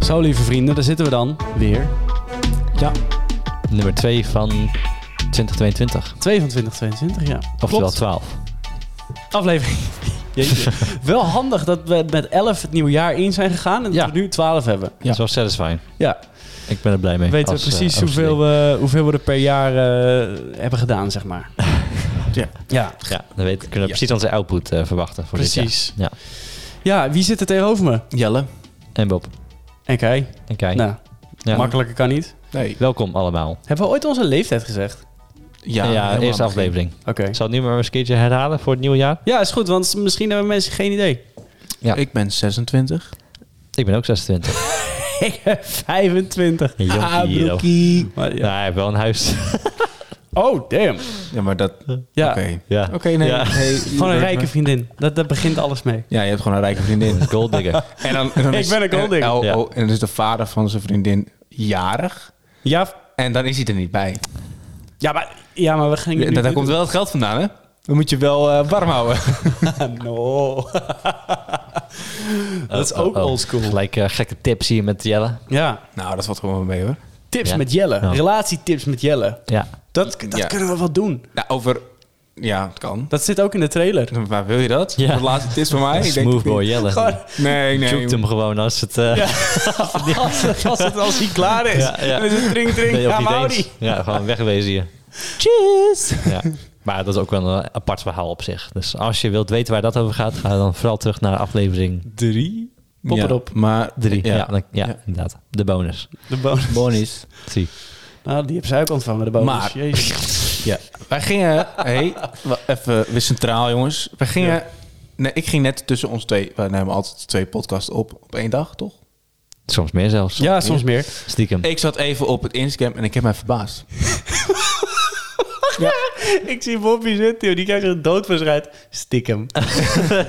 Zo, lieve vrienden, daar zitten we dan weer. Nummer 2 van 2022. 2 van 2022, ja. Oftewel Klopt. 12. Aflevering. Jeetje. Wel handig dat we met 11 het nieuwe jaar in zijn gegaan en dat Ja. we nu 12 hebben. Dat is wel satisfying. Ja, Ik ben er blij mee. weten als, we precies eh, hoeveel, Oosterling. we, hoeveel we er per jaar eh, hebben gedaan, zeg maar. Ja. ja Ja, dan weten, kunnen we Ja. precies onze output eh, verwachten voor dit jaar. precies. Ja. Ja, wie zit er tegenover me? Jelle. En Bob. En Kai. En Kai. Nou, Ja. makkelijker kan niet. Nee. Welkom allemaal. Hebben we ooit onze leeftijd gezegd? Ja, helemaal eerste begin. aflevering. Oké. Ik zal het nu maar eens een keertje herhalen voor het nieuwe jaar. Ja, is goed, want misschien hebben mensen geen idee. Ja. Ik ben 26. Ik ben ook 26. Ik heb 25. Jonkie, joh. broekie. Maar ja. Nou, hij heeft wel een huis. Oh, damn. Ja, maar dat... Oké. Ja, ja. Oké, nee. Ja. Hey, gewoon een je- rijke vriendin. Dat, dat begint alles mee. Ja, je hebt gewoon een rijke vriendin. Een gold digger. En dan, en dan Ik is- ben een golddigger. En, oh, Ja. oh, en dan is de vader van zijn vriendin jarig. Ja, En dan is hij er niet bij. ja, maar, ja maar we gaan... nu- daar komt wel het geld vandaan, hè? Dan moet je wel eh, warm houden. Ah, no. dat is Oh, oh, ook oh. oldschool. Gelijk eh, gekke tips hier met Jelle. Ja, nou, dat valt gewoon wel mee, hoor. tips Ja. met Jelle. Ja. Relatietips met Jelle. Ja. Dat, dat Ja. kunnen we wel doen. Nou, over... Ja, het kan. Dat zit ook in de trailer. Maar wil je dat? Ja. Dat laatste tip van mij? Ik denk- Smooth boy Jelle. Gewoon, Nee, nee. Zoekt hem gewoon als het... eh, als, het- als, het, als hij klaar is. Ja, ja. Dan is het drink, drink, Nee, ook ja, niet maar eens. Ja, gewoon wegwezen hier. Cheers. Ja. Maar dat is ook wel een apart verhaal op zich. Dus als je wilt weten waar dat over gaat, ga dan vooral terug naar aflevering Drie. Pop Ja, het op. Maar 3. Ja, Ja. dan- ja, Ja. inderdaad. De bonus. De bonus. Bonus. Zie. Nou, die heb zij ook ontvangen, de bonus. Maar- Jezus. Ja. Wij gingen... hey, wa- even weer centraal, jongens. Wij gingen... Nee, ik ging net tussen ons twee... Wij nemen altijd twee podcasts op op één dag, toch? Soms meer zelfs. Ja, soms meer. Stiekem. Ik zat even op het Instagram en ik heb mij verbaasd. Ik zie Bobby zitten, joh. die kijkt er dood van schrijft. Stiekem.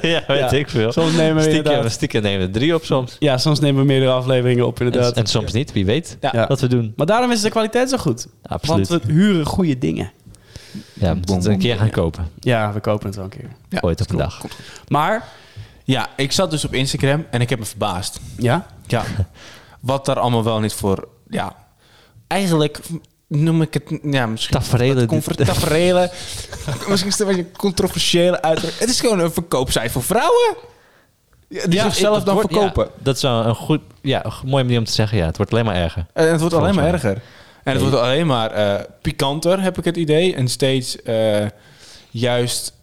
ja, weet Ja. ik veel. Soms nemen we Stiekem, inderdaad- stiekem nemen we drie op soms. Ja, soms nemen we meerdere afleveringen op, En, inderdaad. en soms niet, wie weet Ja. Ja. wat we doen. Maar daarom is de kwaliteit zo goed. Absoluut. Want we huren goede dingen. ja, we moeten het een keer gaan kopen. Ja, we kopen het wel een keer. Ja, Ooit op een klopt. dag. Maar, Ja, ik zat dus op Instagram en ik heb me verbaasd. ja, Ja. Wat daar allemaal wel niet voor... Ja. Eigenlijk noem ik het... Ja, misschien... Tafereelen. comfort- Taferelen. Misschien is het een beetje een controversiële uitdruk. Het is gewoon een verkoopsite voor vrouwen. Ja, die Ja, zichzelf het dan wordt- verkopen. ja, dat is wel een, goed, ja, een go- mooie manier om te zeggen. Ja, het wordt alleen maar erger. Eh, En het wordt alleen Volgens maar mij. erger. En het wordt alleen maar eh, pikanter, heb ik het idee. En steeds eh, juist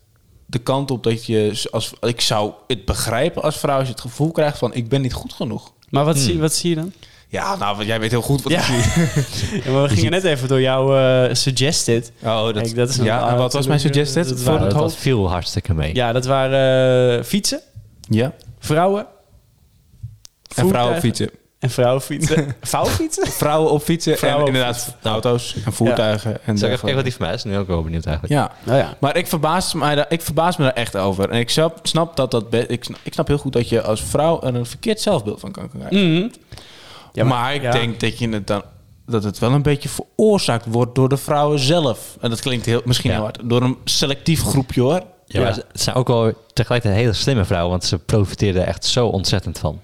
de kant op dat je... s- Als, ik zou het begrijpen als vrouw als je het gevoel krijgt van... ik ben niet goed genoeg. maar wat, zie, wat zie je dan? Ja, Oh, nou, want jij weet heel goed wat ik Ja. zie. Ja, maar we gingen net even door jou eh, suggested. Oh, Kijk, dat is een- ja, en wat was mijn suggested Dat voor waren- dat, het dat hoofd? viel hartstikke mee. Ja, dat waren eh, fietsen, Ja. vrouwen. En vrouwen voertuigen op fietsen. En vrouwen fietsen. Vrouwen fietsen? Vrouwen op fietsen Vrouwen en op inderdaad auto's en voertuigen. En Zal ik even kijken wat dergelijke. die van mij is? Nu ook wel benieuwd eigenlijk. Ja. Nou ja. Maar ik verbaas, mij daar, ik verbaas me daar echt over. En ik snap, snap dat dat... be- Ik snap, ik snap heel goed dat je als vrouw er een verkeerd zelfbeeld van kan krijgen. Mhm. Ja, maar, ik ja. denk dat, je het dan, dat het wel een beetje veroorzaakt wordt door de vrouwen zelf. En dat klinkt heel, misschien Ja. heel hard. Door een selectief groepje hoor. Ja, maar Ja. ze- het zijn ook wel tegelijkertijd hele slimme vrouwen, want ze profiteren er echt zo ontzettend van.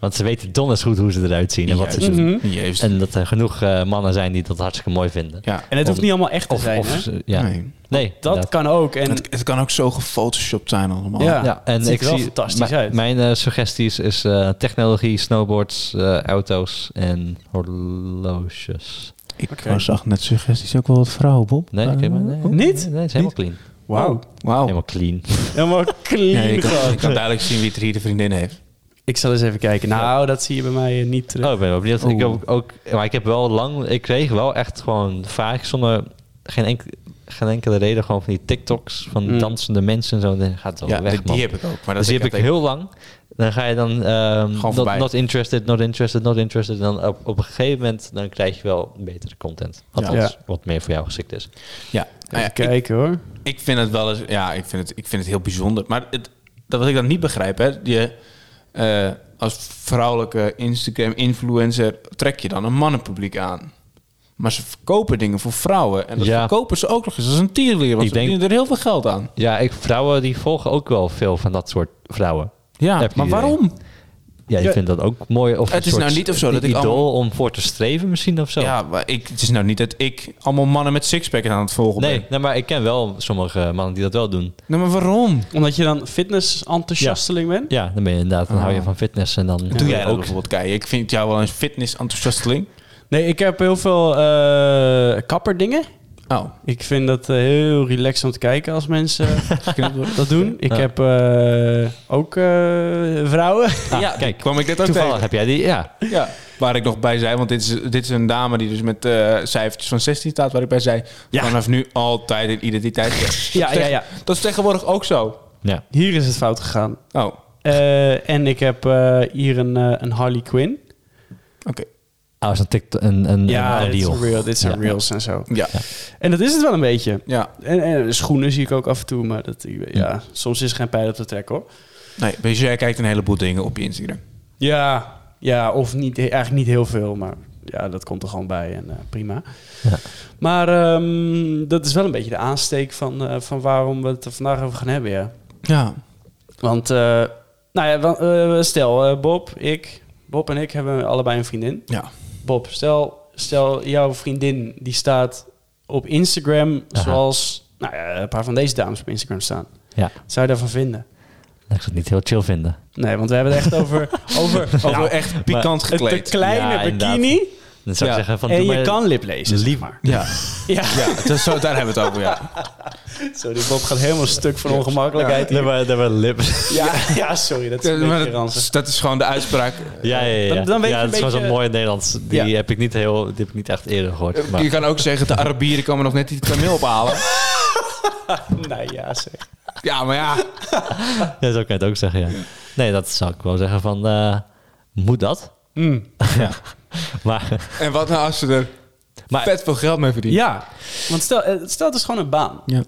Want ze weten donders goed hoe ze eruit zien en wat ze Juist. Mhm. doen. Jezus. Hm? En dat er genoeg eh, mannen zijn die dat hartstikke mooi vinden. ja. En het hoeft niet allemaal echt te Of, zijn, of hè? Oh, ze- ja. Nee. Nee. Dat inderdaad. kan ook. En het, het kan ook zo gefotoshopt zijn allemaal. Ja. Ja, en het ziet ik er wel zie fantastisch mijn- uit. Mijn eh, suggesties is eh, technologie, snowboards, eh, auto's en horloges. Ik Oké. zag net suggesties ook wel wat vrouwen, Bob. Eh, Nee, ik heb- nee, nee, Niet? Oh. Nee, het is helemaal clean. wauw. Wauw. Helemaal clean. Helemaal clean Ja, je, kan, gewoon. je kan duidelijk zien wie het hier de vriendin heeft. Ik zal eens even kijken. Nou, dat zie je bij mij eh, niet terug. Oh, ik ben wel benieuwd. Ik Oeh. heb ook, ook, maar ik heb wel lang, ik kreeg wel echt gewoon vaak zonder geen, enk, geen enkele reden gewoon van die TikToks van Mm. dansende mensen en zo. Dan gaat het wel Ja, weg, die, man. die heb ik ook. Maar dat dus die heb ik heel lang. Dan ga je dan ehm not, voorbij. not interested, not interested, not interested. En dan op, op een gegeven moment dan krijg je wel betere content. Althans, Ja. wat meer voor jou geschikt is. Ja. Nou ja, even kijken hoor. Ik vind het wel eens, ja, ik vind het, ik vind het heel bijzonder. Maar het, dat wat ik dan niet begrijp, hè, je, eh, als vrouwelijke Instagram-influencer trek je dan een mannenpubliek aan. Maar ze verkopen dingen voor vrouwen. En dat Ja. verkopen ze ook nog eens als een tierleer, want Ik ze denk- verdienen er heel veel geld aan. Ja, ik, vrouwen die volgen ook wel veel van dat soort vrouwen. Ja, Heb je maar idee. waarom? Ja, je Ja. vindt dat ook mooi. Of Het een is soort nou niet of zo dat ik idool allemaal- om voor te streven misschien of zo. Ja, maar ik, het is nou niet dat ik allemaal mannen met sixpack aan het volgen nee, ben. nee, maar ik ken wel sommige mannen die dat wel doen. Nou, maar waarom? Omdat je dan fitness-enthousiasteling bent? Ja, dan ben je inderdaad, dan hou je Ah. van fitness en dan Doe jij dat ook. bijvoorbeeld, Kai? Ik vind jou wel een fitness-enthousiasteling. Nee, ik heb heel veel eh, kapperdingen. Oh, Ik vind dat eh, heel relaxed om te kijken als mensen eh, geknipt worden. dat doen. Ik Ja. heb eh, ook eh, vrouwen. Ah, ja, kijk, kijk, kwam ik dit ook toevallig tegen. heb jij die, ja. Ja, waar ik nog bij zei, want dit is, dit is een dame die dus met eh, cijfertjes van 16 staat, waar ik bij zei, Ja. vanaf nu altijd een identiteit. Ja, ja, ja. Dat is tegenwoordig ook zo. ja. Hier is het fout gegaan. Oh, oké. Eh, en ik heb eh, hier een, eh, een Harley Quinn. Ah, is een TikTok, een, een, ja, een dit audio. zijn real, dit zijn Ja. reels en zo. Ja, En dat is het wel een beetje. ja. En, en schoenen zie ik ook af en toe, maar dat, Hm. ja, soms is er geen pijl op de trek hoor. Nee, dus jij kijkt een heleboel dingen op je Instagram. Ja, ja of niet, eigenlijk niet heel veel, maar ja, dat komt er gewoon bij en eh, prima. Ja. Maar ehm, dat is wel een beetje de aansteek van, eh, van waarom we het er vandaag over gaan hebben, ja. Ja. Want, eh, nou ja, wa- eh, stel, eh, Bob, ik, Bob en ik hebben allebei een vriendin. Ja. Bob, stel, stel jouw vriendin die staat op Instagram Aha. zoals nou ja, een paar van deze dames op Instagram staan. Ja. Wat zou je daarvan vinden? Ik zou het niet heel chill vinden. Nee, want we hebben het echt over, over, Over over echt pikant een te Nou, gekleed. kleine Ja, inderdaad. bikini Dan zou ik Ja, zeggen van, en doe je maar- kan liplezen. Lief maar. Ja, Ja, ja dat is zo, daar hebben we het over, ja. sorry, Bob gaat helemaal stuk van ongemakkelijkheid. Nee, maar, nee, maar lip. Ja, ja sorry, dat is een Maar beetje dat, ranzig. dat is gewoon de uitspraak. Ja, ja, ja. Dan- dan weet ja, je dat een is gewoon beetje- zo'n mooi Nederlands. Die Ja. heb ik niet heel, die heb ik niet echt eerder gehoord. Je Maar, kan ook zeggen, de Arabieren komen nog net die kameel ophalen. Nee, ja zeg. Ja, maar ja. ja, zo kan je het ook zeggen, ja. Nee, dat zou ik wel zeggen van, eh, moet dat? Mm, Maar, En wat nou als ze er Maar- vet veel geld mee verdienen? Ja, want stel, eh, stel het is gewoon een baan. Ja.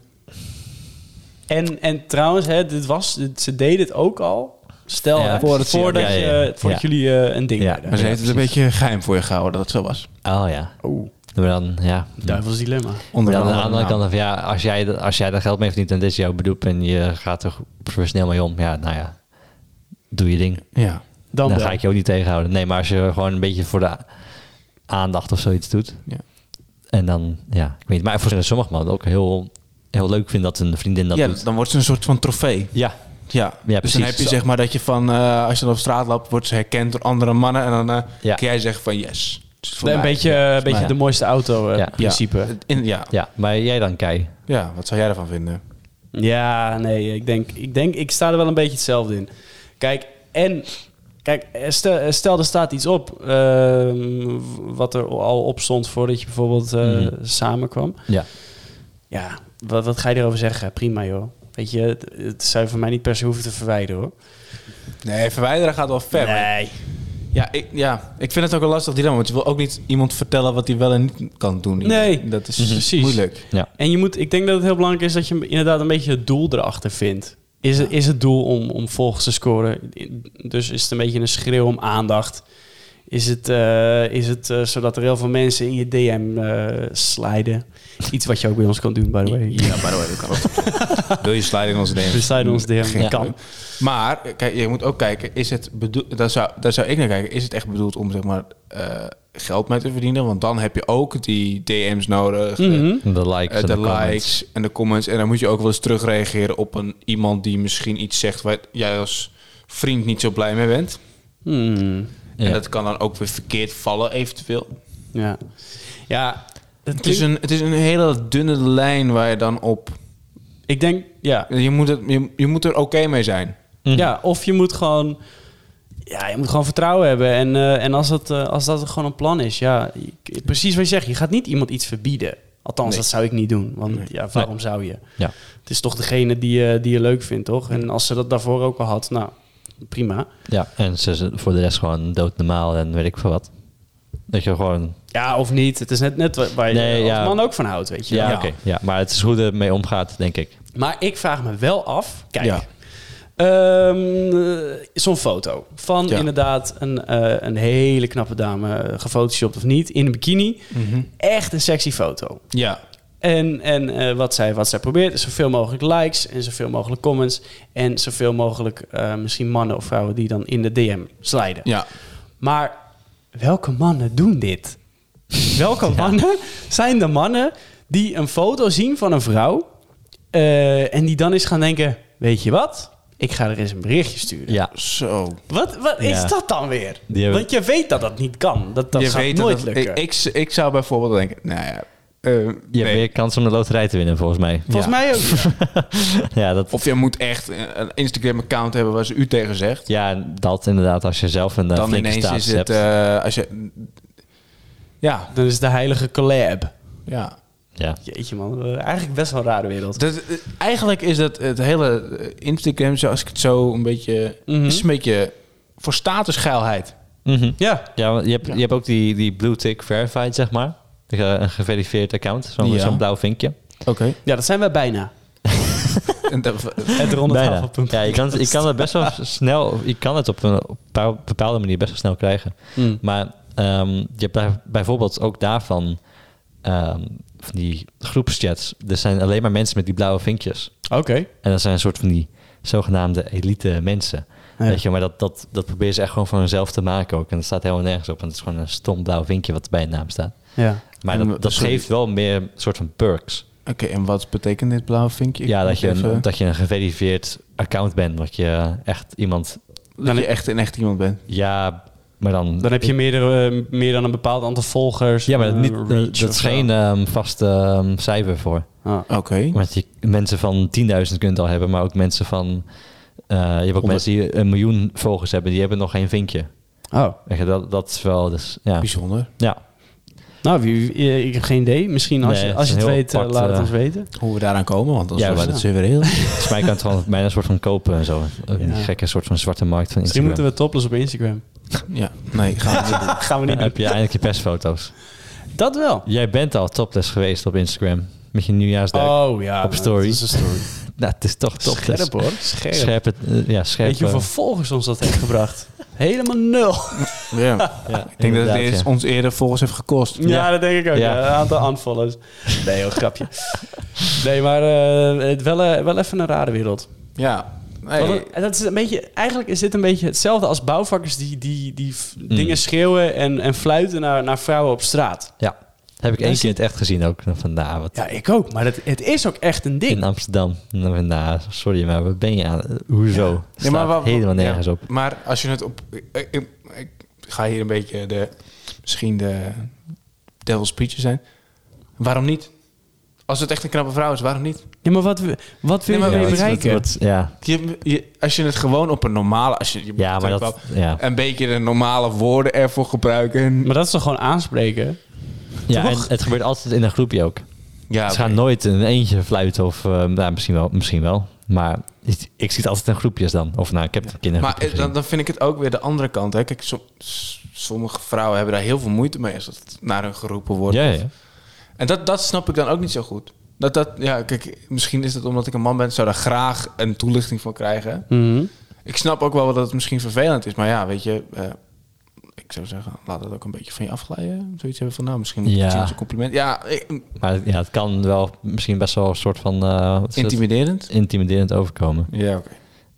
En, en trouwens, hè, dit was, dit- ze deden het ook al. Stel, Ja, hè, voordat voordat, ze- ja, ja, ja. je- voordat Ja. jullie eh, een ding Ja. deden. Maar ze Ja, heeft het een beetje geheim voor je gehouden dat het zo was. oh ja. Oeh, Maar dan, ja. duivels dilemma. Onder Ja, aan de andere andere naam. kant, van, ja, als jij, dat- als jij daar geld mee verdient en dit is jouw beroep en je gaat er professioneel mee om, ja, nou ja, doe je ding. Ja. Dan, dan wel. ga ik je ook niet tegenhouden. Nee, maar als je gewoon een beetje voor de a- aandacht of zoiets doet. Ja. En dan, ja, ik weet niet. Maar voor sommige mannen ook heel, heel leuk vinden dat een vriendin dat ja, doet. dan wordt ze een soort van trofee. Ja, Ja, dus precies. dan heb je zeg maar dat je van, eh, als je dan op straat loopt, wordt ze herkend door andere mannen. En dan eh, Ja. kun jij zeggen van yes. het is voor Nee, een mij. beetje, een beetje ja. de mooiste auto eh, Ja. principe. Ja, in, ja. ja, maar jij dan, Kei. ja, wat zou jij ervan vinden? Ja, nee, ik denk, ik denk, ik sta er wel een beetje hetzelfde in. Kijk, en kijk, eh, stel, eh, stel er staat iets op ehm, w- wat er al op stond voordat je bijvoorbeeld eh, Mhm. samenkwam. Ja. Ja, wat, wat ga je erover zeggen? Prima joh. Weet je, het, het zou je van mij niet per se hoeven te verwijderen hoor. Nee, verwijderen gaat wel ver. maar- Nee. Ja ik, ja, ik vind het ook een lastig dilemma. Want je wil ook niet iemand vertellen wat hij wel en niet kan doen. Nee, dat is precies. moeilijk. Ja. En je moet, ik denk dat het heel belangrijk is dat je inderdaad een beetje het doel erachter vindt. Is, het, is het doel om, om volgers te scoren? Dus is het een beetje een schreeuw om aandacht? Is het, eh, is het eh, zodat er heel veel mensen in je DM eh sliden? Iets wat je ook bij ons kan doen, by the way. Ja, by the way, dat kan ook. wil je sliden in onze DM? We sliden ons DM. Geen Kan. probleem. Maar eh, kijk, je moet ook kijken, is het bedoeld, daar, zou, daar zou ik naar kijken, is het echt bedoeld om zeg maar eh, geld mee te verdienen? Want dan heb je ook die DM's nodig, de- Mhm. De likes eh, en de, de, comments. likes en de comments. En dan moet je ook wel eens terugreageren op een iemand die misschien iets zegt waar jij als vriend niet zo blij mee bent. Hmm. Ja. En dat kan dan ook weer verkeerd vallen, eventueel. Ja. Ja, het Het is, een, het is een hele dunne lijn waar je dan op. ik denk, ja. Je moet, het, je, je moet er oké mee zijn. Mhm. Ja, of je moet gewoon... Ja, je moet gewoon vertrouwen hebben. En, eh, en als, dat, eh, als dat gewoon een plan is, ja... ik- Precies wat je zegt, je gaat niet iemand iets verbieden. Althans, Nee. dat zou ik niet doen. Want ja, waarom zou je? Ja. Het is toch degene die, je- die je leuk vindt, toch? En als ze dat daarvoor ook al had, nou, prima. ja, en ze is voor de rest gewoon doodnormaal en weet ik veel wat. Dat je gewoon... Ja, of niet. Het is net, net wa- waar je Nee, als ja. man ook van houdt, weet je. Ja, wel. oké. Ja, maar het is hoe het mee omgaat, denk ik. Maar ik vraag me wel af... Kijk, Ja. Ehm, eh, Zo'n foto van Ja. inderdaad een, eh, een hele knappe dame, eh, gefotoshopt of niet, in een bikini. Echt een sexy foto. Ja. En, en eh, wat, zij, wat zij probeert is zoveel mogelijk likes en zoveel mogelijk comments. En zoveel mogelijk eh, misschien mannen of vrouwen die dan in de DM slijden. Ja. Maar welke mannen doen dit? Welke mannen zijn de mannen die een foto zien van een vrouw eh, en die dan eens gaan denken: Weet je wat? Ik ga er eens een berichtje sturen. Ja. Zo. Wat, wat Ja. is dat dan weer? Die hebben- Want je weet dat dat niet kan. Dat, dat je gaat weet dat nooit het- lukken. Ik, ik, ik zou bijvoorbeeld denken, nou ja, eh, Je hebt nee. meer kans om de loterij te winnen, volgens mij. Volgens mij ook. mij. Ja, dat, Of je moet echt eh, een Instagram-account hebben waar ze u tegen zegt. ja, dat inderdaad. Als je zelf een eh, dan flinke ineens status is het... hebt. eh, als je, ja, Dat is de heilige collab. ja. ja. Jeetje man, eh, eigenlijk best wel een rare wereld. Dat, eh, eigenlijk is dat het hele eh, Instagram, zoals ik het zo een beetje... Mhm. is een beetje voor statusgeilheid. Mhm. Ja. Ja, want je hebt, je hebt ook die, die Blue Tick Verified, zeg maar. Dus, eh, Een geverifieerd account, zo'n Ja. zo'n blauw vinkje. Oké. ja, dat zijn wij bijna. Het Bijna. rondetafel.nl. Ja, je kan, je kan het best wel snel, je kan het op een op een paar- bepaalde manier best wel snel krijgen. Mm. Maar ehm, je hebt bij- bijvoorbeeld ook daarvan ehm, van die groepschats. Er zijn alleen maar mensen met die blauwe vinkjes. Oké. En dat zijn een soort van die zogenaamde elite mensen. Ja. Weet je, maar dat, dat, dat proberen ze echt gewoon van hunzelf te maken ook. En dat staat helemaal nergens op. En het is gewoon een stom blauw vinkje wat bij een naam staat. Ja. Maar En dat, dat sorry. geeft wel meer soort van perks. Oké, en wat betekent dit blauwe vinkje? Ik ja, moet dat je, even- een, dat je een geverifieerd account bent. Dat je echt iemand... dat je echt een echt iemand bent. Ja, maar dan... Dan heb je meerdere, eh, meer dan een bepaald aantal volgers. ja, maar dat, eh, niet, reach dat of is zo. geen ehm, vast ehm, cijfer voor. Ah. Oké. Want je, mensen van 10.000 kunt het al hebben, maar ook mensen van... eh, je hebt ook mensen die een miljoen volgers hebben, die hebben nog geen vinkje. Oh, Weet je, dat, dat is wel... Dus, ja. Bijzonder. ja, nou, wie, wie- eh, ik heb geen idee. Misschien als Nee, je, het als is je het een heel weet, eh, apart, laat het eh, ons weten. Hoe we daaraan komen, want anders Ja, was maar het weer heel... volgens mij kan het gewoon bijna een soort van kopen en zo. Een Ja. gekke soort van zwarte markt van Misschien Instagram. Ah, moeten we topless op Instagram. ja, nee, gaan we niet doen. Gaan we niet Dan doen. heb je eindelijk je persfoto's. Dat wel. Jij bent al topless geweest op Instagram. Met je nieuwjaarsduik. Oh ja. Op nou, story. dat is een story. Nou, het is toch topless. Scherp hoor. Scherp. Scherpe, eh, ja, scherpe. Weet je hoeveel volgers ons dat heeft gebracht? Helemaal nul. Ja. Ja, Ik denk dat het eerst inderdaad, ja. ons eerder volgens heeft gekost. Ja, dat denk ik ook. Ja. ja. Een aantal unfollows. Nee, heel grapje. Nee, maar eh, het wel, eh, wel even een rare wereld. Ja. Nee. Want het- dat is een beetje, eigenlijk is dit een beetje hetzelfde als bouwvakkers die, die, die f- Mm. dingen schreeuwen en, en fluiten naar, naar vrouwen op straat. Ja, heb ik één Dus- keer in het echt gezien ook. Van, nou, wat Ja, ik ook. Maar het, het is ook echt een ding. in Amsterdam. Nou, van, nou, sorry, maar wat ben je aan? eh, Hoezo? Ja. Ja, maar wat- helemaal ja. nergens op. Maar als je het op... Ik, ik, ik ga hier een beetje de... Misschien de devil's preacher zijn. Waarom niet? Als het echt een knappe vrouw is, waarom niet? Ja, maar wat, we- wat wil Nee, je maar mee wat- bereiken? wat- ja. Je, je- als je het gewoon op een normale... Als je, je moet ja, maar natuurlijk dat... wel Eh, Ja, Een beetje de normale woorden ervoor gebruiken. maar dat is toch gewoon aanspreken? ja en toch? het gebeurt altijd in een groepje ook. Ja, Ze gaan nooit in een eentje fluiten of... eh, nou, misschien wel, misschien wel. Maar ik, ik zie het altijd in groepjes dan. Of nou, ik heb het in Maar kindergroepjes eh, dan, dan vind ik het ook weer de andere kant. Hè. Kijk, som- s- sommige vrouwen hebben daar heel veel moeite mee als het naar hun geroepen wordt. Ja, ja. En dat, dat snap ik dan ook niet zo goed. Dat, dat, ja, kijk, misschien is het omdat ik een man ben, zou daar graag een toelichting van krijgen. Mhm. Ik snap ook wel dat het misschien vervelend is, maar ja, weet je, eh, ik zou zeggen, laat het ook een beetje van je afglijden. Zoiets hebben van, nou, misschien moet je Ja. het zien als een compliment. Ja, ik- Maar ja, het kan wel misschien best wel een soort van... eh, wat is het? intimiderend. intimiderend overkomen. Ja, oké.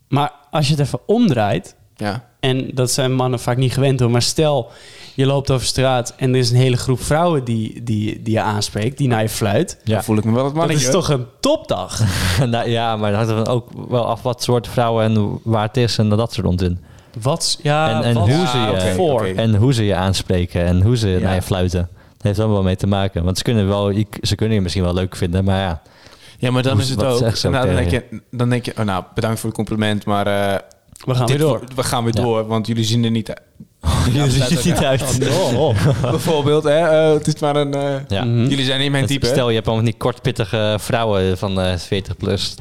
Maar als je het even omdraait, Ja. En dat zijn mannen vaak niet gewend hoor. Maar stel, je loopt over straat en er is een hele groep vrouwen die, die, die je aanspreekt, die naar je fluit. Ja. dan voel ik me wel het Dat mannetje. is toch een topdag? nou, ja, maar dan hangt er dan ook wel af wat soort vrouwen en waar het is en dat soort onzin. Wat, ja, En- en wat hoe ze je- staat voor? Ah, oké, oké. En hoe ze je aanspreken en hoe ze Ja. naar je fluiten. Dat heeft allemaal wel mee te maken. Want ze kunnen, wel, ik- ze kunnen je misschien wel leuk vinden, maar ja. Ja, maar dan Hoe- is het wat ook. zegt ze ook nou, dan, denk tegen je, dan denk je, oh, nou, bedankt voor het compliment, maar eh, We gaan dit weer door. wordt- we gaan weer Ja. door, want jullie zien er niet uit. Je dat staat ziet ook, Oh, het niet ja. uit. Bijvoorbeeld, hè, eh, het is maar een... eh, Ja. Mhm. Jullie zijn niet mijn Het- type. hè? Stel, je hebt allemaal van die kortpittige vrouwen van eh 40 plus.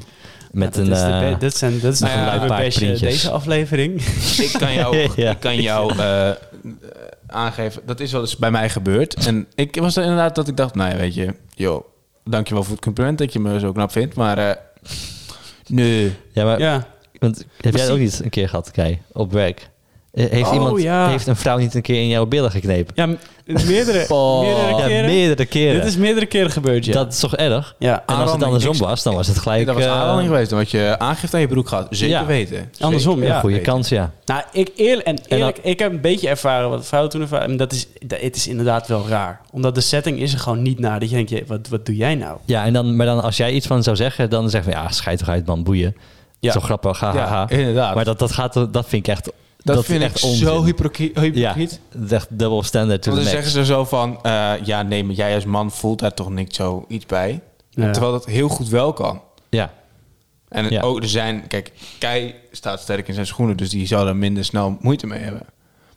Met Ja, dat, een... is de eh, be- dat zijn dat is nou de ja, gelijke een paar bestje printjes. deze aflevering. ik kan jou, Ja. ik kan jou eh, eh, aangeven. Dat is wel eens bij mij gebeurd. En ik was er inderdaad dat ik dacht, nou ja, weet je, joh, dankjewel voor het compliment dat je me zo knap vindt, maar eh, nee. ja, maar ja. want, heb jij Misschien- het ook niet een keer gehad, Kai, op werk? Eh, Heeft Oh, iemand, ja. heeft een vrouw niet een keer in jouw billen geknepen? Ja, m- meerdere, meerdere Ja, keren. meerdere keren. Dit is meerdere keren gebeurd, ja. Dat is toch erg? ja, En als het Aanranding, andersom niks. was, dan was het gelijk... dat was eh, aanleiding geweest. Dan had je aangifte aan je broek gehad. Zeker Ja. weten. Andersom, Zeker ja. een goede weten. kans, ja. Nou, ik, eerlijk, en dan- eerlijk, ik heb een beetje ervaren wat vrouwen toen ervaren. En dat is, dat, het is inderdaad wel raar. Omdat de setting is er gewoon niet naar. Dat je denkt, je, wat, wat doe jij nou? Ja, en dan, maar dan als jij iets van zou zeggen, dan zeg je... Ja, scheid toch uit, man, boeien. Ja. Zo grappig, ha, Ja, ha, ha. inderdaad. Maar dat, dat, gaat, dat vind ik echt... Dat, is vind ik echt zo onzin. hypocriet. Ja, hypocriet. dat is echt double standard to Want the dan max. zeggen ze zo van, eh, ja nee, maar jij als man voelt daar toch niks zo iets bij. Ja. Terwijl dat heel goed wel kan. Ja, En het- Ja. ook er zijn, kijk, Kei staat sterk in zijn schoenen, dus die zou daar minder snel moeite mee hebben.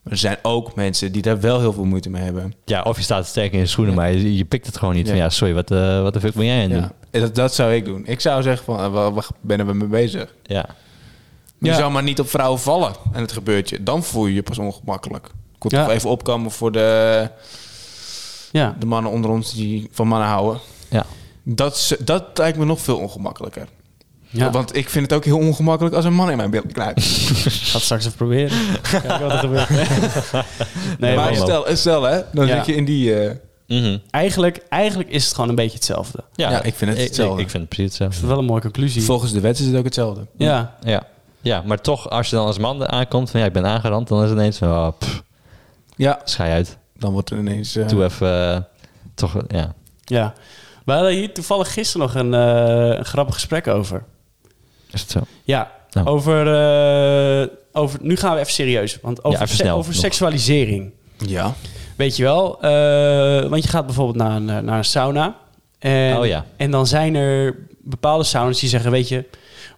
Maar er zijn ook mensen die daar wel heel veel moeite mee hebben. ja, of je staat sterk in je schoenen, maar je, je pikt het gewoon niet. Ja. Van ja, sorry, wat, eh, wat de fuck ben jij aan het Ja. doen? En Dat, dat zou ik doen. Ik zou zeggen van, eh, waar, waar ben we mee bezig? Ja. Je Ja. zou maar niet op vrouwen vallen en het gebeurt je. Dan voel je je pas ongemakkelijk. Ik moet Ja. toch even opkomen voor de, Ja. de mannen onder ons die van mannen houden. ja. Dat, is- dat lijkt me nog veel ongemakkelijker. ja. Want ik vind het ook heel ongemakkelijk als een man in mijn beeld knijpt. Ik ga het straks even proberen. Kijk wat er gebeurt. nee, maar maar man. stel, stel hè, dan Ja. zit je in die... eh, Mhm. eigenlijk, eigenlijk is het gewoon een beetje hetzelfde. ja. Ja, ik vind het Ik, hetzelfde. vind het precies Dat hetzelfde. is wel een mooie conclusie. volgens de wet is het ook hetzelfde. ja. Ja. ja, maar toch, als je dan als man aankomt van ja, ik ben aangerand, dan is het ineens van oh, pff, Ja, schei uit. dan wordt er ineens... eh, Doe even, eh, toch, eh, ja. ja. We hadden hier toevallig gisteren nog een, eh, een grappig gesprek over. Is het zo? Ja, Nou. over, eh, over... Nu gaan we even serieus. Want over, Ja, even se- snel over nog. seksualisering. ja. Weet je wel. eh, want je gaat bijvoorbeeld naar een, eh, naar een sauna. En, Oh ja. en dan zijn er bepaalde saunas die zeggen... Weet je,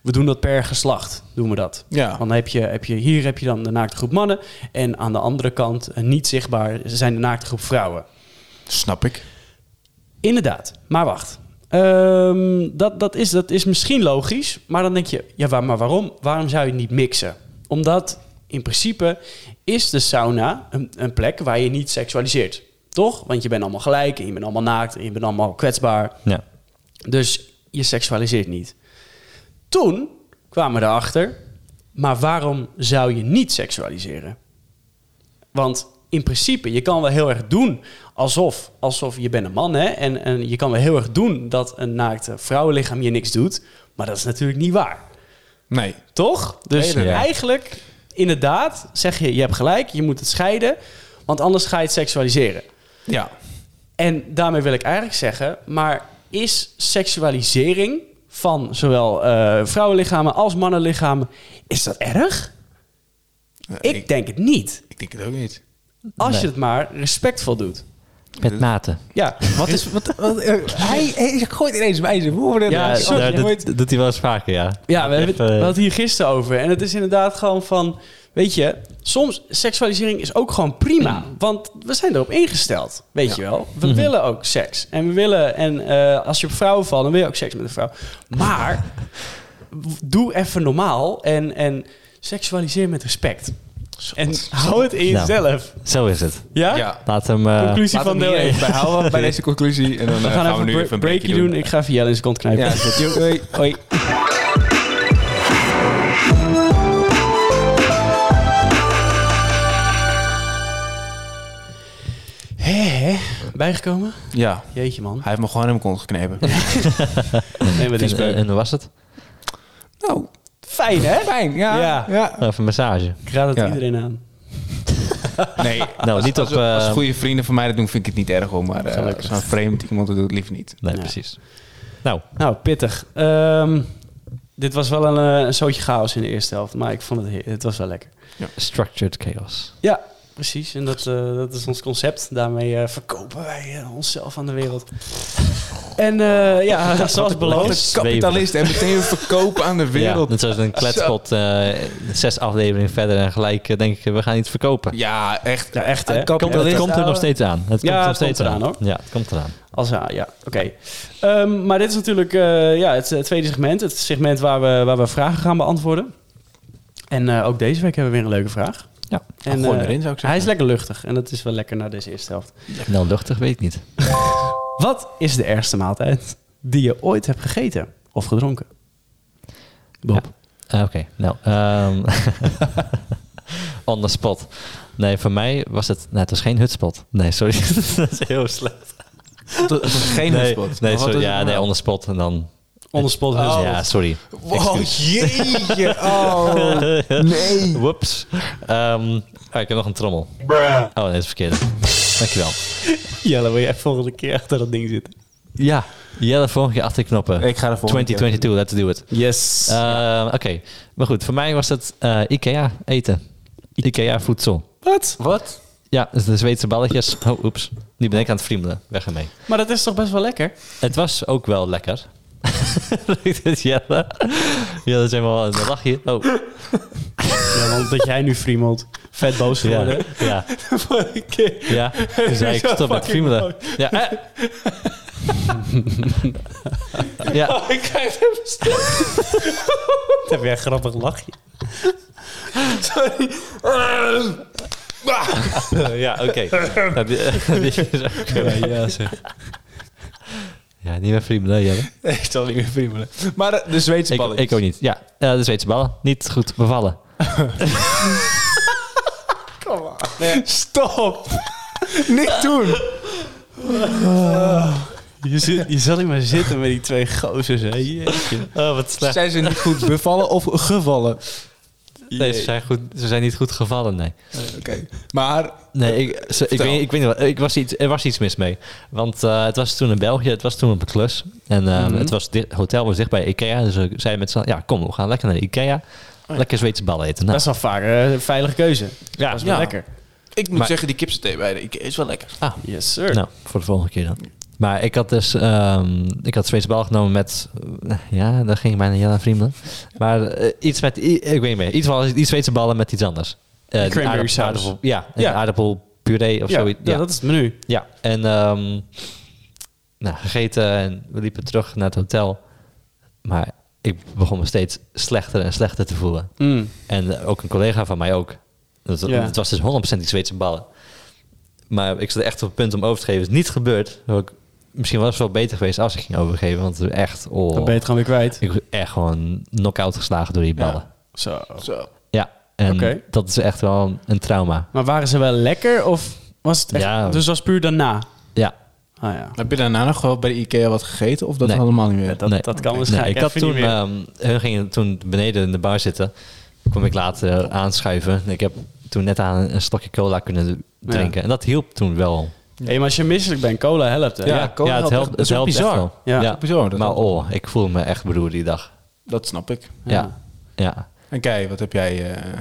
we doen dat per geslacht. Doen we dat. Ja. Dan heb je, heb je, hier heb je dan de naakte groep mannen. En aan de andere kant, eh, niet zichtbaar, zijn de naakte groep vrouwen. Snap ik. Inderdaad, maar wacht. Ehm, dat, dat, is, dat is misschien logisch, maar dan denk je, ja, waar- maar waarom? Waarom zou je het niet mixen? Omdat in principe is de sauna een, een plek waar je niet seksualiseert. Toch? Want je bent allemaal gelijk en je bent allemaal naakt en je bent allemaal kwetsbaar. Ja. Dus je seksualiseert niet. Toen kwamen we erachter, maar waarom zou je niet seksualiseren? Want in principe, je kan wel heel erg doen alsof, alsof je bent een man hè, en, en je kan wel heel erg doen dat een naakt vrouwenlichaam je niks doet, maar dat is natuurlijk niet waar. Nee. Toch? Dus Nee, ja. eigenlijk, inderdaad, zeg je, je hebt gelijk, je moet het scheiden, want anders ga je het seksualiseren. Ja. En daarmee wil ik eigenlijk zeggen, maar is seksualisering van zowel eh, vrouwenlichamen als mannenlichamen, is dat erg? Ik, Eh, ik, denk het niet. ik denk het ook niet. Als Nee. je het maar respectvol doet. Met mate. Ja, Wat is... Wat, Eh, hij, gooit ineens bij zijn woorden. Ja, daar doet, doet hij wel eens vaker, ja. ja we, hebben, Even, we eh, hadden het hier gisteren over. En het is inderdaad gewoon van, weet je, soms seksualisering is ook gewoon prima. Want we zijn erop ingesteld, weet je wel. We willen ook seks. En we willen, en eh, als je op vrouwen valt, dan wil je ook seks met een vrouw. Maar doe even normaal en, en seksualiseer met respect. En hou het in Nou. jezelf. Zo is het. Ja? Ja. Laat hem... eh, Conclusie van deel 1. bij houden bij deze conclusie. En dan eh, We gaan, even, nu een even een breakje doen. Ik ga even Jelle in zijn kont knijpen. Ja, is goed. Yo, hoi, hoi. Hé, hé. Bijgekomen? Ja. Jeetje, man. Hij heeft me gewoon in mijn kont geknepen. Nee, maar dit is en, leuk. en hoe was het? nou, Oh, Fijn, hè? fijn. Ja. Ja. Even een massage. Ik raad het Ja. iedereen aan. Nee. Nou, niet op... Als, als eh, goede vrienden van mij dat doen, vind ik het niet erg hoor. Maar eh, Gelukkig. als een vreemd iemand dat doet, het liever niet. Nee, Ja. precies. Nou, Nou, pittig. Ehm, dit was wel een, eh, een zootje chaos in de eerste helft. Maar ik vond het, heer- het was wel lekker. structured chaos. Ja, precies. En dat, eh, dat is ons concept. Daarmee eh, verkopen wij eh, onszelf aan de wereld. En eh, ja, zoals beloofd. Kapitalist en meteen verkopen aan de Ja, wereld. net zoals een kletspot, eh, zes afleveringen verder en gelijk eh, denk ik, we gaan iets verkopen. Ja, echt. Ja, echt hè? Komt, het komt er nog steeds aan. Het komt Ja, er nog het steeds komt aan. eraan, Ja, het komt eraan. Als, ja, ja oké. Ehm, maar dit is natuurlijk eh, ja, het eh, tweede segment. Het segment waar we, waar we vragen gaan beantwoorden. En eh, ook deze week hebben we weer een leuke vraag. Ja. en, gooi hem eh, erin, zou ik zeggen. Hij is lekker luchtig en dat is wel lekker na deze eerste helft. Nou, luchtig weet ik niet. Wat is de ergste maaltijd die je ooit hebt gegeten of gedronken? Bob. Ah, Oké, nou. ehm, on the spot. Nee, voor mij was het... Nee, het was geen hutspot. Nee, sorry. dat is heel slecht. Het was geen nee, Nee, hotspot. Maar wat sorry, is ja, het nou? nee, on the spot en dan... Onderspot Oh. Ja, sorry. Wow, jeetje. Oh, nee. Whoops. Ehm, ah, ik heb nog een trommel. Oh, nee, dat is verkeerd. Dankjewel. Jelle, wil jij volgende keer achter dat ding zitten? Ja, Jelle, volgende keer achter de knoppen. Ik ga er volgende keer 2022, let's do it. Yes. Ehm, Oké, maar goed. Voor mij was het eh, Ikea eten. Ikea voedsel. Wat? Wat? Ja, dus de Zweedse balletjes. Oh, oeps. Nu ben ik aan het friemelen. Weg ermee. Maar dat is toch best wel lekker? Het was ook wel lekker. Leuk dat Jelle. Jelle is helemaal... Dan lach je. Oh, Ja, want dat jij nu friemelt. Vet boos ja. geworden. Ja, Vorige keer. ja. Toen zei ik, stop met friemelen. Ja, eh. ja. Oh, Ik krijg hem stil. Dat heb jij een grappig lachje. Sorry. ja, oké. Nou, die- die is ook- ja, zeg. Ja, niet meer friemelen, Jelle. Ik zal niet meer friemelen. Maar eh, de Zweedse Ik, ballen. ik ook niet. Ja, eh, de Zweedse ballen. Niet goed bevallen. Stop. niet doen. Je, zit, je zat hier maar zitten met die twee gozers, hè? Jeetje. Oh, wat slecht. Zijn ze niet goed bevallen of gevallen? Nee, ze zijn, goed, ze zijn niet goed gevallen, nee. Eh, Oké. Maar Nee, ik, ze- ik, Vertel. weet, ik weet niet wat. Ik was iets, er was iets mis mee. Want eh, het was toen in België, het was toen op een klus. En eh, Mhm. het was dit hotel was dicht bij Ikea. Dus ik zei met z'n allen, ja kom, we gaan lekker naar de Ikea. Lekker Zweedse ballen eten. Oh Dat Nou, is wel vaak eh, een veilige keuze. ja, Dat is wel Ja. lekker. ik moet Maar- zeggen, die kipsethee bij de Ikea is wel lekker. Yes, sir. nou, voor de volgende keer dan. Maar ik had dus, ehm, ik had Zweedse ballen genomen met, eh, ja, daar ging ik bijna Jelle vrienden. Maar eh, iets met, i- ik weet niet meer, iets, van- iets Zweedse ballen met iets anders. Eh, die Cranberry aardappel- saus. aardappel- Ja, Ja. ja. aardappelpuree of ja, zoiets. ja, dat is het menu. Ja, en ehm, nou, gegeten en we liepen terug naar het hotel. Maar ik begon me steeds slechter en slechter te voelen. Mm. En eh, ook een collega van mij ook. Dat, Ja. Het was dus 100% die Zweedse ballen. Maar ik zat echt op het punt om over te geven. Het is niet gebeurd. Zou ik- Misschien was het wel beter geweest als ik ging overgeven. Want echt, Dan oh, ben je het gewoon weer kwijt. ik was echt gewoon knock-out geslagen door die ballen. Ja, Zo. Zo. en Oké. dat is echt wel een, een trauma. Maar waren ze wel lekker of was het echt... Ja. Dus was puur daarna? Ja, Ah ja. Heb je daarna nog wel bij de Ikea wat gegeten of dat Nee. helemaal niet meer? Dat, Nee. dat kan Nee, waarschijnlijk ik had even toen, niet meer. ehm, hun gingen toen beneden in de bar zitten. Kom ik later aanschuiven. Ik heb toen net aan een stokje cola kunnen drinken. En dat hielp toen wel. hey, maar als je misselijk bent, cola helpt hè? Ja, cola eh, het helpt helpt, echt. Dat het is ook helpt echt bizar. wel. Ja. Bizar, dat, Maar oh, ik voel me echt beroerd die dag. dat snap ik. Ja. ja. En kijk, wat heb jij... eh,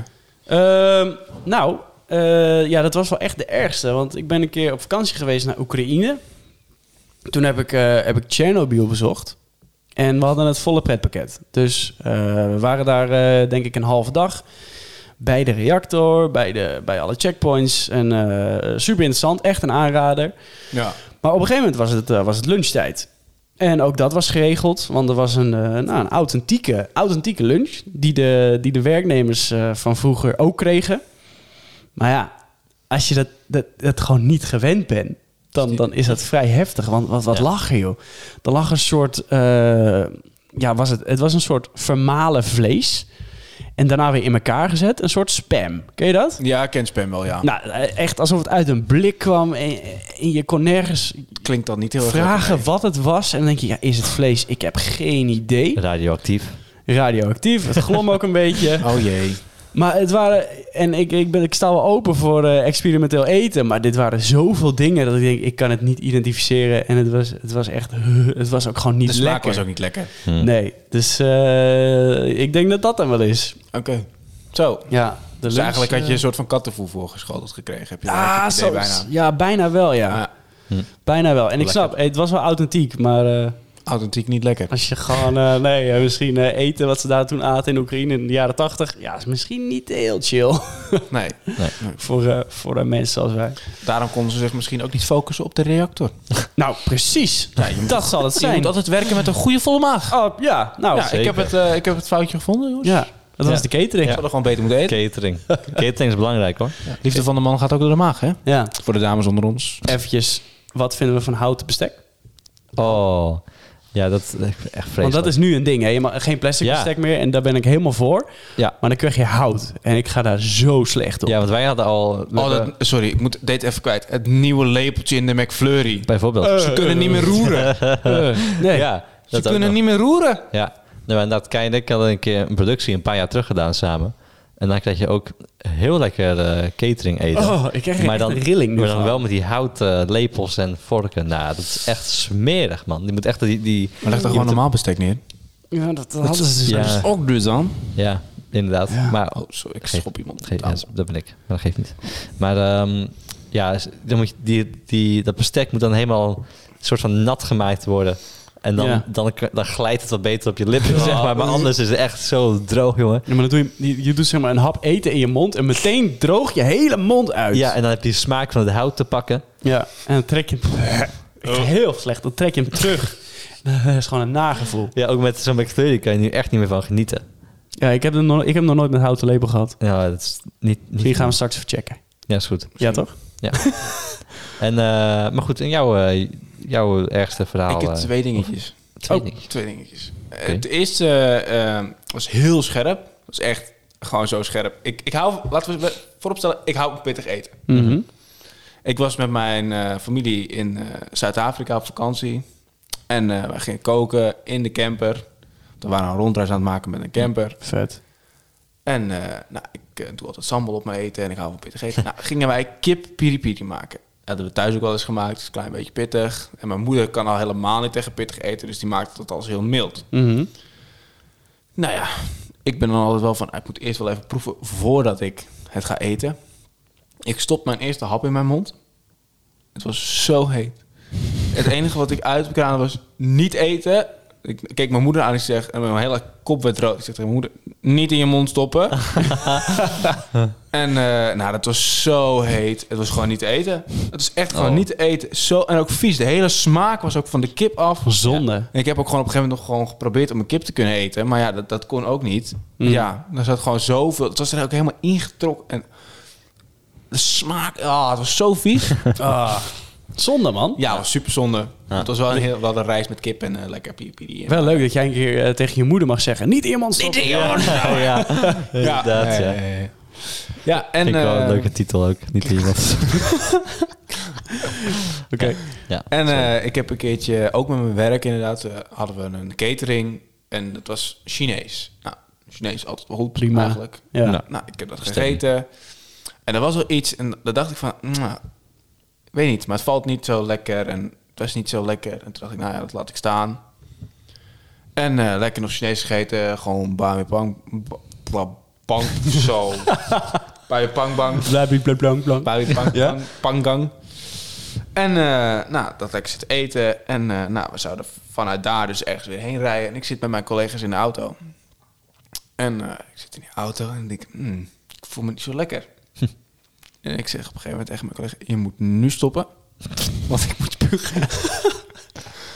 Ehm, nou, eh, ja, dat was wel echt de ergste. Want ik ben een keer op vakantie geweest naar Oekraïne. Toen heb ik, eh heb ik Tsjernobyl bezocht. En we hadden het volle pretpakket. Dus eh, we waren daar eh, denk ik een halve dag. Bij de reactor, bij, de, bij alle checkpoints. En eh, super interessant, echt een aanrader. ja. Maar op een gegeven moment was het, eh, was het lunchtijd. En ook dat was geregeld, want er was een, eh, nou, een authentieke, authentieke lunch... Die de, die de werknemers eh, van vroeger ook kregen. Maar ja, als je dat, dat, dat gewoon niet gewend bent... Dan, dan is dat vrij heftig, want wat, wat Ja. lag er, joh? Er lag een soort... eh, ja, was het, het was een soort vermalen vlees. En daarna weer in elkaar gezet. Een soort spam. Ken je dat? ja, ik ken spam wel, ja. Nou, echt alsof het uit een blik kwam. En, en je kon nergens Klinkt dat niet heel erg vragen wat het was. En dan denk je, ja, is het vlees? Ik heb geen idee. Radioactief. Radioactief, het glom ook een beetje. lekker? Oh jee. Maar het waren, en ik, ik, ben, ik sta wel open voor eh, experimenteel eten, maar dit waren zoveel dingen dat ik denk, ik kan het niet identificeren. En het was, het was echt, het was ook gewoon niet de smaak lekker. was ook Mm. niet lekker. Hm. Nee, dus eh, ik denk dat dat dan wel is. Oké. Zo. Ja, de Dus lunch, eigenlijk had je eh, een soort van kattenvoer voorgeschoteld gekregen. Heb je ah, zo zo, ja, bijna wel, ja. Ja, Bijna wel. En ik Lekker. snap, het was wel authentiek, maar... eh, authentiek niet lekker. Als je gewoon, eh, nee, eh, misschien eh, eten wat ze daar toen aten in Oekraïne in de jaren tachtig. Ja, is misschien niet heel chill Nee. voor, eh, voor eh, mensen als wij. Daarom konden ze zich misschien ook niet focussen op de reactor. Nou, precies. dat zal het Je zijn. moet altijd werken met een goede volle maag. Oh, ja, nou. ja, Ja, ik zeker. heb, het, eh, ik heb het foutje gevonden, jongens. dat was de catering. Ik zou er gewoon beter moeten eten. Catering. Catering is belangrijk hoor. Liefde van de man gaat ook door de maag, hè? Ja. Voor de dames onder ons. Eventjes, wat vinden we van houten bestek? Oh, Ja, dat is echt vreselijk. Want dat is nu een ding, hè? Je mag geen plastic Ja. bestek meer en daar ben ik helemaal voor. Ja. Maar dan krijg je hout en ik ga daar zo slecht op. Ja, want wij hadden al... we Oh, dat, hebben- sorry, ik moet dit even kwijt. Het nieuwe lepeltje in de McFlurry. Bijvoorbeeld. Eh, Ze kunnen niet meer roeren. nee. ja, Eh. Ze dat ook kunnen nog. niet meer roeren. Ja, nou, en dat Kai en ik hadden een keer een productie een paar jaar terug gedaan samen. En dan krijg je ook heel lekker eh, catering eten. Oh, ik krijg echt een rilling nu Maar dan van. wel met die houten lepels en vorken. Nou, dat is echt smerig, man. Je moet echt die... die Maar leg je er gewoon moet- normaal bestek neer. Ja, dat, dat hadden ze dus Ja. ook. ook dus dan. Ja, inderdaad. Maar Oh, sorry, ik Geef- schop iemand. Ge- Oh. ja, dat ben ik, maar dat geeft niet. Maar ehm, ja, s- dan moet je die, die, dat bestek moet dan helemaal een soort van nat gemaakt worden. En dan, Ja. Oh. dan, k- dan glijdt het wat beter op je lippen, zeg maar. Maar anders is het echt zo droog, jongen. Ja, maar dan doe je, je, je doet zeg maar een hap eten in je mond en meteen droog je hele mond uit. Ja, en dan heb je de smaak van het hout te pakken. Ja, en dan trek je hem... Heel slecht, dan trek je hem terug. Dat is gewoon een nagevoel. Ja, ook met zo'n bacterie kan je nu echt niet meer van genieten. Ja, ik heb, er nog, ik heb nog nooit met houten lepel gehad. Ja, dat is niet... niet Die gaan we straks verchecken. Ja, is goed. Ja, toch? En, eh, maar goed, en jouw, eh, jouw ergste verhaal... Ik heb eh, twee dingetjes. twee Oh. dingen. Twee dingetjes. Eh, Het eerste eh, eh, was heel scherp. Was echt gewoon zo scherp. Ik, ik hou, laten we vooropstellen, ik hou van pittig eten. Mhm. Ik was met mijn eh, familie in eh, Zuid-Afrika op vakantie. En eh we gingen koken in de camper. We waren een rondreis aan het maken met een camper. Vet. En eh, nou, ik eh, doe altijd sambal op mijn eten en ik hou van pittig eten. nou, gingen wij kip piri piri maken. Dat hebben we thuis ook wel eens gemaakt. is een klein beetje pittig. En mijn moeder kan al helemaal niet tegen pittig eten. Dus die maakt dat als heel mild. Mhm. Nou ja, ik ben dan altijd wel van... Ik moet eerst wel even proeven voordat ik het ga eten. Ik stop mijn eerste hap in mijn mond. Het was zo heet. Het enige wat ik uitkraamde was niet eten. Ik keek mijn moeder aan en ik zeg... En mijn hele kop werd rood. Ik zeg tegen mijn moeder... Niet in je mond stoppen. en eh, nou, dat was zo heet. Het was gewoon niet eten. Het was echt gewoon Oh. niet eten. Zo, en ook vies. De hele smaak was ook van de kip af. Zonde. En ik heb ook gewoon op een gegeven moment nog gewoon geprobeerd om een kip te kunnen eten. Maar ja, dat, dat kon ook niet. Hmm. Mm. Ja, er zat gewoon zoveel. Het was er ook helemaal ingetrokken. En de smaak, ah, het was zo vies. Ah, zonde, man. ja, het was super zonde. Ja. Het was wel een heel, wel een rijst met kip en eh, lekker piri. Wel leuk dat jij een keer eh, tegen je moeder mag zeggen... Niet iemand stoppen. Oh, ja, inderdaad, ja. ja. ja. Ja, en... Vind ik wel eh, een leuke titel ook. Niet iemand. Oké. ja. En eh, ik heb een keertje, ook met mijn werk inderdaad, eh, hadden we een catering. En dat was Chinees. Nou, Chinees altijd wel goed, Prima. prima eigenlijk. Ja. Nou. Nou, ik heb dat Bestek gegeten. En er was wel iets, en daar dacht ik van, "Nou, weet niet, maar het valt niet zo lekker. En het was niet zo lekker. En toen dacht ik, nou ja, dat laat ik staan. En eh, lekker nog Chinees gegeten, gewoon bami pang, ba- ba- pang, zo. Bami pang bang. Blabbi, blab, blank, blank. Bari Pang- Ja? Pang- Pangang. En eh, nou, dat lekker zit eten. En eh, nou, we zouden vanuit daar dus ergens weer heen rijden. En ik zit met mijn collega's in de auto. En eh, ik zit in die auto en ik denk, "Hmm, ik voel me niet zo lekker. En ik zeg op een gegeven moment tegen mijn collega, je moet nu stoppen. Want ik moet pugen.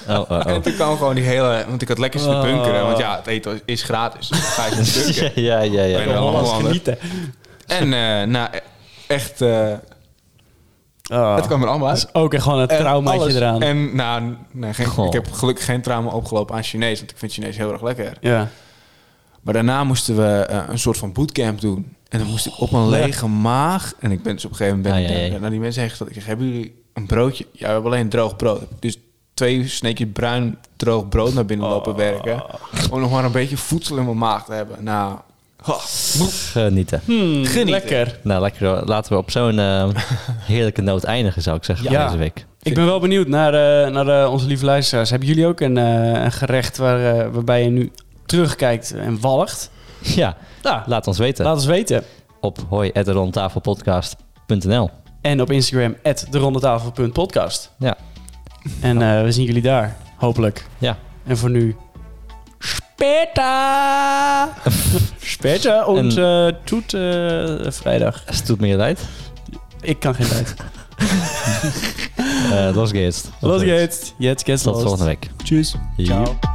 Oh, oh, oh. En toen kwam gewoon die hele... Want ik had lekker zitten Oh. bunkeren. Want ja, het eten is gratis. Dus dan ga je zitten bunkeren. ja, ja, ja. Ja. Hollands Hollander. genieten. En eh, nou, e- echt... eh, Ah. het kwam er allemaal Dat uit. is ook echt gewoon een En traumaatje Eh, alles. eraan. En nou, nee, geen- Goh. ik heb gelukkig geen trauma opgelopen aan Chinees, want ik vind Chinees heel erg lekker. ja. Maar daarna moesten we eh, een soort van bootcamp doen. En dan moest ik op een lege maag. En ik ben dus op een gegeven moment ben Ai, ik, ai, ai. eh, naar die mensen heen gesteld. Ik zeg, hebben jullie een broodje? Ja, we hebben alleen droog brood. Dus twee sneetjes bruin droog brood naar binnen lopen werken. Om nog maar een beetje voedsel in mijn maag te hebben. Nou, Oh. ha, Genieten. Hmm, Genieten. Lekker. Nou, lekker. hoor. Laten we op zo'n eh, heerlijke noot eindigen, zou ik zeggen, Ja. deze week. Ik ben wel benieuwd naar, eh, naar eh, onze lieve luisteraars. Hebben jullie ook een, eh, een gerecht waar, eh, waarbij je nu terugkijkt en walgt? Ja, Nou, laat ons weten laat ons weten. op hoi.rondtafelpodcast.nl. En op Instagram, derondetafel.podcast. Ja. En eh, we zien jullie daar, hopelijk. Ja. En voor nu... Speta! Speta, onze eh, toet eh, vrijdag. Als het doet meer leid. Ik kan geen tijd. Eh, Los geht's. Los geht's. Jetzt geht's Tot los. volgende week. Tschüss. Joep. Ciao.